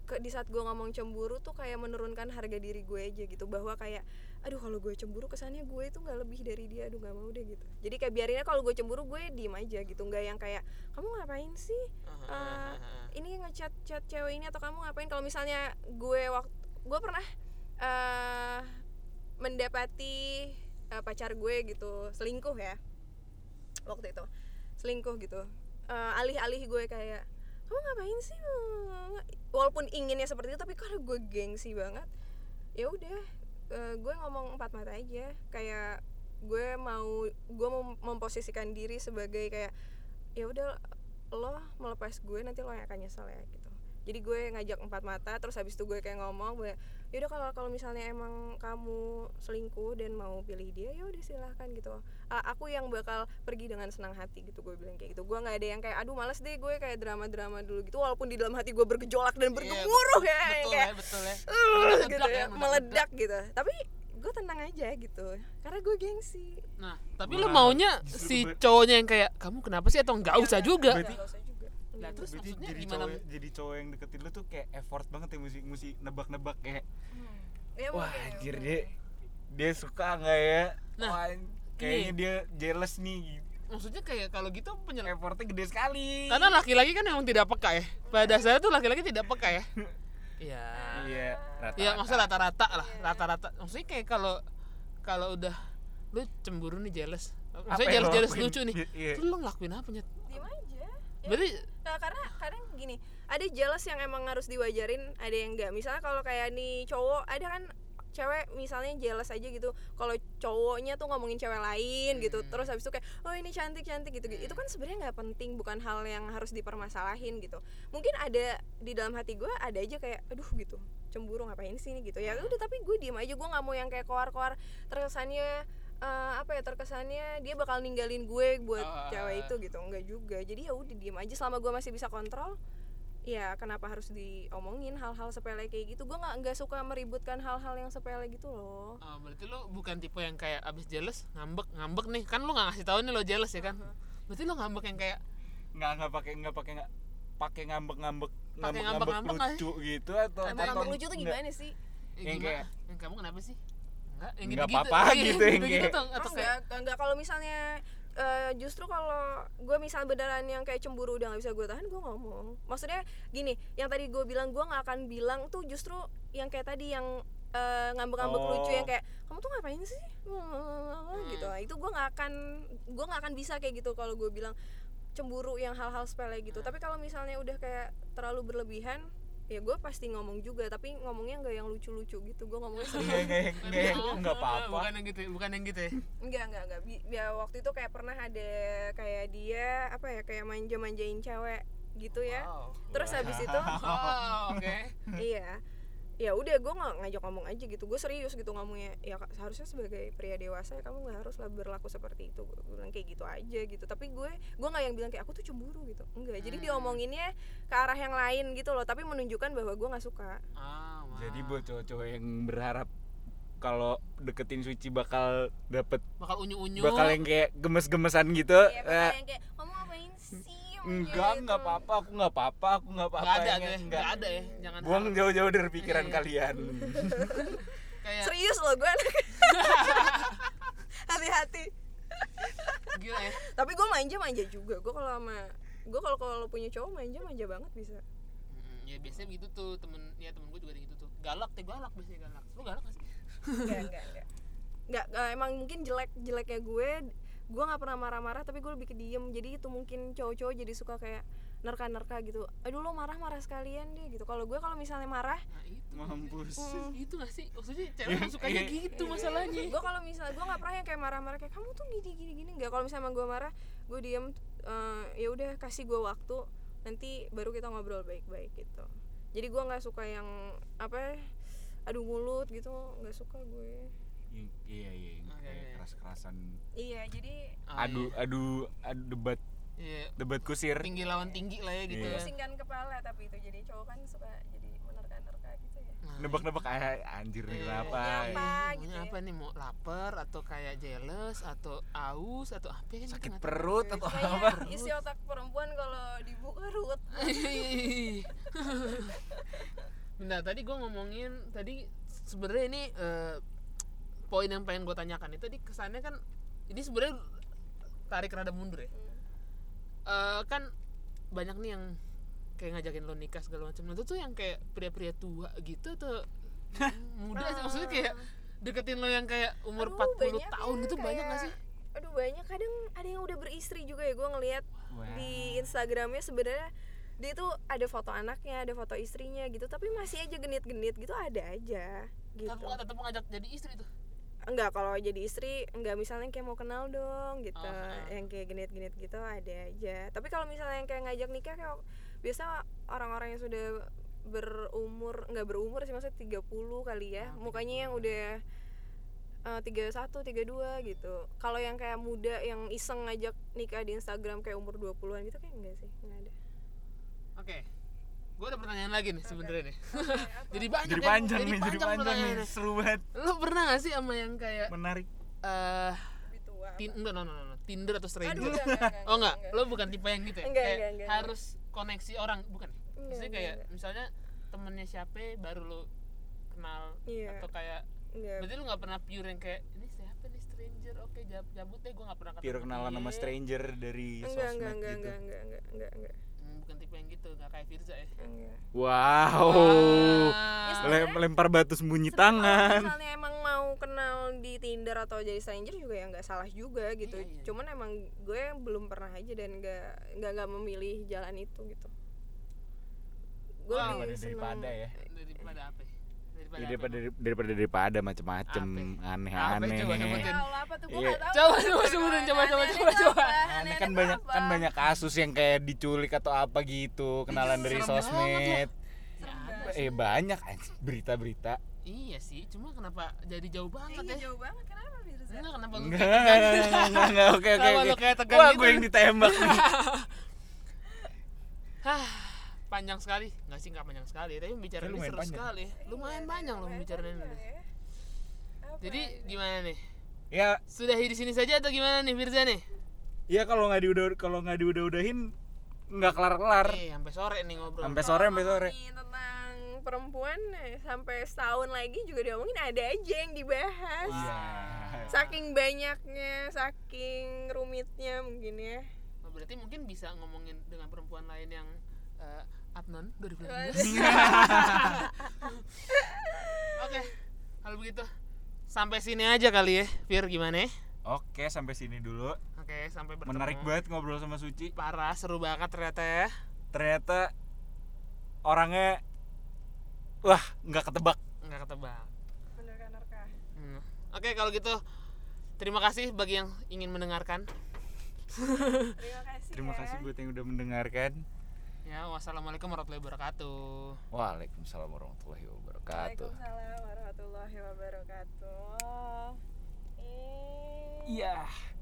S3: ke di saat gue ngomong cemburu tuh kayak menurunkan harga diri gue aja gitu bahwa kayak aduh kalau gue cemburu kesannya gue itu nggak lebih dari dia aduh nggak mau deh gitu jadi kayak biarinnya kalau gue cemburu gue diem aja gitu nggak yang kayak kamu ngapain sih
S1: Ah, ah,
S3: Eh,
S1: ah, ah.
S3: ini ngechat chat cewek ini atau kamu ngapain kalau misalnya gue waktu gue pernah eh, mendapati eh, pacar gue gitu selingkuh ya waktu itu selingkuh gitu Eh, alih-alih gue kayak kamu ngapain sih walaupun inginnya seperti itu tapi karena gue gengsi banget ya udah eh, gue ngomong empat mata aja kayak gue mau gue mem- memposisikan diri sebagai kayak ya udah lo melepas gue nanti lo yang akan nyesel ya gitu jadi gue ngajak empat mata terus habis itu gue kayak ngomong gue yaudah kalau kalau misalnya emang kamu selingkuh dan mau pilih dia ya udah silahkan gitu A- aku yang bakal pergi dengan senang hati gitu gue bilang kayak gitu gue nggak ada yang kayak aduh males deh gue kayak drama drama dulu gitu walaupun di dalam hati gue bergejolak dan bergemuruh ya yang
S1: Iya, ah. betul
S3: kayak
S1: ya betul ya
S3: "Ugh,"
S1: Meledak
S3: gitu
S1: ya,
S3: ya
S1: meledak.
S3: meledak gitu tapi gue tenang aja gitu karena gue gengsi
S1: nah tapi
S2: Gua
S1: lo maunya
S2: justru
S1: si
S2: ber-
S1: cowoknya yang kayak kamu kenapa sih atau
S3: Iya,
S1: nggak usah juga
S2: Berarti-
S3: Nggak usah juga.
S1: Nah, terus
S2: Berarti
S1: maksudnya
S2: jadi
S1: gimana
S2: cowok ya? jadi cowok yang deketin lu tuh kayak effort banget ya mesti mesti nebak-nebak kayak
S3: Ya,
S2: wah
S3: mungkin,
S2: anjir
S3: mungkin.
S2: dia dia suka nggak ya
S1: Nah,
S2: Wah, kayaknya dia jealous nih
S1: maksudnya kayak kalau gitu penyel
S2: effortnya gede sekali
S1: karena laki-laki kan memang tidak peka ya pada dasarnya tuh laki-laki tidak peka ya iya
S2: iya rata
S1: ya maksudnya rata-rata lah rata-rata maksudnya kayak kalau kalau udah lu cemburu nih jealous maksudnya
S2: yang lo
S1: jealous jealous
S2: lakuin?
S1: lucu nih
S2: Iya, iya.
S1: terus lu ngelakuin apa nyet
S3: Diem aja. Ya,
S1: berarti
S3: Nah, karena kadang gini, ada jelas yang emang harus diwajarin, ada yang enggak. Misalnya kalau kayak nih cowok, ada kan cewek misalnya jelas aja gitu. Kalau cowoknya tuh ngomongin cewek lain gitu, terus habis itu kayak, "Oh, ini cantik-cantik" gitu. Itu kan sebenarnya nggak penting, bukan hal yang harus dipermasalahin gitu. Mungkin ada di dalam hati gue ada aja kayak, "Aduh" gitu. Cemburu ngapain sih nih gitu. Ya udah tapi gue diem aja, gue nggak mau yang kayak koar-koar terkesannya eh, apa ya terkesannya dia bakal ninggalin gue buat
S1: Oh,
S3: cewek itu gitu enggak juga jadi ya udah diem aja selama gue masih bisa kontrol ya kenapa harus diomongin hal-hal sepele kayak gitu gue nggak nggak suka meributkan hal-hal yang sepele gitu loh
S1: Ah, berarti lo bukan tipe yang kayak abis jealous ngambek ngambek nih kan lo nggak ngasih tahu nih lo jealous ya kan berarti lo ngambek yang kayak
S2: nggak nggak pakai nggak pakai nggak pakai ngambek ngambek ngambek
S1: ngambek-ngambek ya.
S2: ngambek
S1: nggak
S2: lucu gitu atau
S1: Emang
S2: atau-
S3: emang lucu tuh
S2: nggak.
S3: gimana sih
S1: eh,
S2: Yang
S1: gimana?
S2: kayak-
S1: yang kamu kenapa sih Enggak, yang
S2: Nggak
S1: gitu-gitu.
S2: apa-apa
S1: Iya,
S2: gitu, yang
S1: gitu-gitu
S2: kayak-
S1: tuh. Atau kayak
S3: enggak enggak kalau misalnya eh, justru kalau gue misal beneran yang kayak cemburu udah nggak bisa gue tahan gue ngomong maksudnya gini yang tadi gue bilang gue nggak akan bilang tuh justru yang kayak tadi yang eh, ngambek-ngambek
S2: Oh.
S3: lucu yang kayak kamu tuh ngapain sih
S1: Hmm.
S3: gitu itu gue nggak akan gue nggak akan bisa kayak gitu kalau gue bilang cemburu yang hal-hal sepele gitu tapi kalau misalnya udah kayak terlalu berlebihan ya gue pasti ngomong juga tapi ngomongnya nggak yang lucu-lucu gitu gue ngomongnya serius
S1: Iya,
S2: nggak nggak nggak nggak apa-apa
S1: bukan yang gitu ya, bukan yang gitu ya
S3: Enggak, enggak, enggak. Bi- Ya waktu itu kayak pernah ada kayak dia apa ya kayak manja-manjain cewek gitu ya.
S1: wow
S3: Terus habis itu
S1: Wow, Oh, oke
S3: iya. Ya udah gue nggak ngajak ngomong aja gitu. Gue serius gitu ngomongnya. Ya Kak, seharusnya sebagai pria dewasa kamu nggak haruslah berlaku seperti itu. Gue bilang kayak gitu aja gitu. Tapi gue gue nggak yang bilang kayak aku tuh cemburu gitu. Enggak. Jadi
S1: Hmm.
S3: diomonginnya ke arah yang lain gitu loh. Tapi menunjukkan bahwa gue nggak suka.
S1: Ah, wow.
S2: jadi buat cowok-cowok yang berharap kalau deketin suci bakal dapet
S1: bakal unyu unyu
S2: bakal yang kayak gemes-gemesan gitu
S3: Iya,
S2: eh,
S3: yang kayak kamu ngapain sih? Gitu.
S2: enggak enggak apa-apa aku enggak apa-apa aku enggak apa-apa
S1: nggak ada
S2: enggak-
S1: ya
S2: enggak.
S1: nggak ada ya jangan
S2: buang
S1: harap.
S2: jauh-jauh dari pikiran
S1: Iya, iya.
S2: kalian
S1: kayak
S3: Serius loh gue. Hati-hati.
S1: gila ya
S3: tapi gue manja manja juga gue kalau sama gue kalau kalau punya cowok manja manja banget bisa
S1: Mm, ya biasanya begitu tuh temen ya temen gue juga kayak gitu tuh galak teh galak biasanya galak lu galak gak sih
S3: enggak enggak enggak enggak enggak, emang mungkin jelek jeleknya gue gue nggak pernah marah-marah tapi gue lebih ke diem jadi itu mungkin cowok-cowok jadi suka kayak nerka-nerka gitu aduh lo marah-marah sekalian deh gitu kalau gue kalau misalnya marah
S1: nah itu
S2: mampus
S1: Mm. itu gak sih maksudnya cewek tuh sukanya
S2: iya.
S1: gitu masalahnya
S3: gue kalau misalnya gue nggak pernah yang kayak marah-marah kayak kamu tuh gini gini gini nggak kalau misalnya gue marah gue diem eh, ya udah kasih gue waktu nanti baru kita ngobrol baik-baik gitu jadi gue nggak suka yang apa adu mulut gitu nggak suka gue
S2: Yang- iya iya yang
S1: Oke,
S2: kayak
S1: oke.
S2: keras-kerasan
S3: iya jadi
S1: Ah,
S2: adu adu adu debat
S1: iya. Iya,
S2: debat kusir
S1: tinggi lawan tinggi lah ya gitu ya
S2: Iya.
S3: pusingkan kepala tapi itu jadi cowok kan suka jadi menerka-nerka gitu ya
S1: Nah,
S2: nebak-nebak ah, anjir
S1: Iya.
S2: nih kenapa
S3: Nyampe. Apa
S1: Iya,
S3: gitu
S1: maunya
S3: ya.
S1: apa nih mau lapar atau kayak jealous atau aus atau apa ya kan
S2: sakit
S1: kita nggak tahu.
S2: perut atau apa
S3: Kayaknya isi otak perempuan kalau dibuka ruwet
S1: Bentar, tadi gue ngomongin tadi sebenarnya ini eh, poin yang pengen gue tanyakan itu tadi kesannya kan ini sebenarnya tarik rada mundur ya. Eh, kan banyak nih yang kayak ngajakin lo nikah segala macam. Nah, itu tuh yang kayak pria-pria tua gitu atau muda sih maksudnya kayak deketin lo yang kayak umur
S3: Aduh,
S1: 40
S3: banyak
S1: tahun
S3: ya,
S1: itu banyak gak
S3: kayak-
S1: sih?
S3: aduh banyak kadang ada yang udah beristri juga ya gue ngelihat
S2: Wah.
S3: di Instagramnya sebenarnya dia tuh ada foto anaknya ada foto istrinya gitu tapi masih aja genit-genit gitu ada aja
S1: Tetap
S3: gitu
S1: tetap ngajak jadi istri tuh.
S3: enggak kalau jadi istri enggak misalnya kayak mau kenal dong gitu
S1: Ah, ah.
S3: yang kayak genit-genit gitu ada aja tapi kalau misalnya yang kayak ngajak nikah kayak biasa orang-orang yang sudah berumur enggak berumur sih maksudnya 30 kali ya
S1: Ah,
S3: mukanya yang
S1: 30.
S3: udah eh, tiga satu tiga dua gitu kalau yang kayak muda yang iseng ngajak nikah di Instagram kayak umur 20-an gitu kayak enggak sih enggak ada
S1: Oke. Gue ada pertanyaan lagi nih sebenarnya nih. jadi banyak
S2: jadi
S1: ya,
S2: panjang nih jadi panjang nih
S1: pertanyaannya.
S2: seru banget
S1: Lo pernah gak sih sama yang kayak
S2: menarik
S1: eh
S3: lebih tua
S1: tin enggak, no, no, no, no. Tinder atau stranger?
S3: Aduh, enggak, enggak,
S1: oh enggak, lo bukan tipe yang gitu ya.
S3: Enggak,
S1: Kayak
S3: enggak, enggak,
S1: harus koneksi orang, bukan. ya?
S3: Enggak,
S1: Maksudnya
S3: enggak,
S1: kayak
S3: enggak.
S1: misalnya temennya siapa baru lo kenal
S3: Iya.
S1: atau kayak
S3: enggak
S1: berarti lo nggak pernah pure yang kayak ini siapa nih stranger oke jab- jabut deh gue nggak pernah ketemu
S2: pure kenalan sama
S1: dia."
S2: stranger dari
S3: enggak
S2: sosmed
S3: enggak
S2: gitu
S3: enggak enggak enggak enggak enggak enggak
S1: Hmm, bukan tipe yang gitu nggak kayak Firza ya
S3: enggak
S2: wow Oh.
S1: Ah.
S3: Ya,
S2: Lem- lempar batu sembunyi tangan
S3: misalnya emang mau kenal di Tinder atau jadi stranger juga ya nggak salah juga gitu.
S1: Iya, iya.
S3: Cuman emang gue belum pernah aja dan nggak nggak nggak memilih jalan itu gitu. Gue
S1: Wah,
S3: lebih
S2: daripada
S3: seneng-
S2: daripada ya Iya,
S1: daripada apa ya? daripada,
S2: daripada daripada daripada macem-macem
S1: Apa
S2: aneh-aneh
S1: coba
S3: Ya
S1: sebutin?
S3: Allah, apa tuh gue
S2: Iya.
S3: nggak tahu.
S1: Coba, coba, sebutin, coba,
S3: Aneh-aneh
S1: coba,
S3: tuh
S1: coba, coba.
S3: apa?
S2: Aneh
S3: Aneh-aneh
S2: kan
S3: tuh
S2: banyak
S3: apa?
S2: kan banyak kasus yang kayak diculik atau apa gitu kenalan dari
S1: Serem banget Ya,
S2: sosmed
S3: banget.
S2: eh banyak anjing, berita-berita
S1: iya sih cuma kenapa jadi jauh banget
S3: Iya,
S1: ya
S3: jauh banget kenapa Firza?
S1: enggak kenapa lu
S2: enggak enggak enggak, enggak oke oke
S1: Kenapa lu gitu?
S2: oke
S1: kayak tegang
S2: wah
S1: gitu?
S2: gue yang ditembak nih.
S1: Hah, panjang sekali nggak sih nggak panjang sekali tapi pembicaraan
S2: Tapi
S1: ini
S2: lumayan
S1: seru
S2: panjang.
S1: sekali
S3: Iya,
S1: lumayan panjang loh pembicaraan ini
S3: ya.
S1: jadi gimana nih
S2: ya
S1: sudah di sini saja atau gimana nih Firza nih
S2: ya kalau nggak diudah kalau nggak diudah-udahin nggak kelar-kelar
S1: eh sampai sore nih ngobrol
S2: sampai sore sampai sore
S3: tentang perempuan eh, sampai setahun lagi juga diomongin ada aja yang dibahas
S2: iya
S3: saking banyaknya saking rumitnya mungkin ya
S1: Nah, berarti mungkin bisa ngomongin dengan perempuan lain yang eh, Adnan 2019 oke kalau begitu sampai sini aja kali ya Fir gimana ya
S2: oke sampai sini dulu
S1: oke sampai bertemu
S2: menarik banget ngobrol sama Suci
S1: parah seru banget ternyata ya
S2: ternyata orangnya wah nggak ketebak
S1: nggak ketebak
S3: bener-bener
S1: Hmm. Oke kalau gitu terima kasih bagi yang ingin mendengarkan.
S3: terima kasih
S2: terima
S1: Iya.
S2: kasih buat yang udah mendengarkan
S1: Ya wassalamualaikum warahmatullahi wabarakatuh.
S2: waalaikumsalam warahmatullahi wabarakatuh
S3: Waalaikumsalam warahmatullahi wabarakatuh. Eh.
S2: iya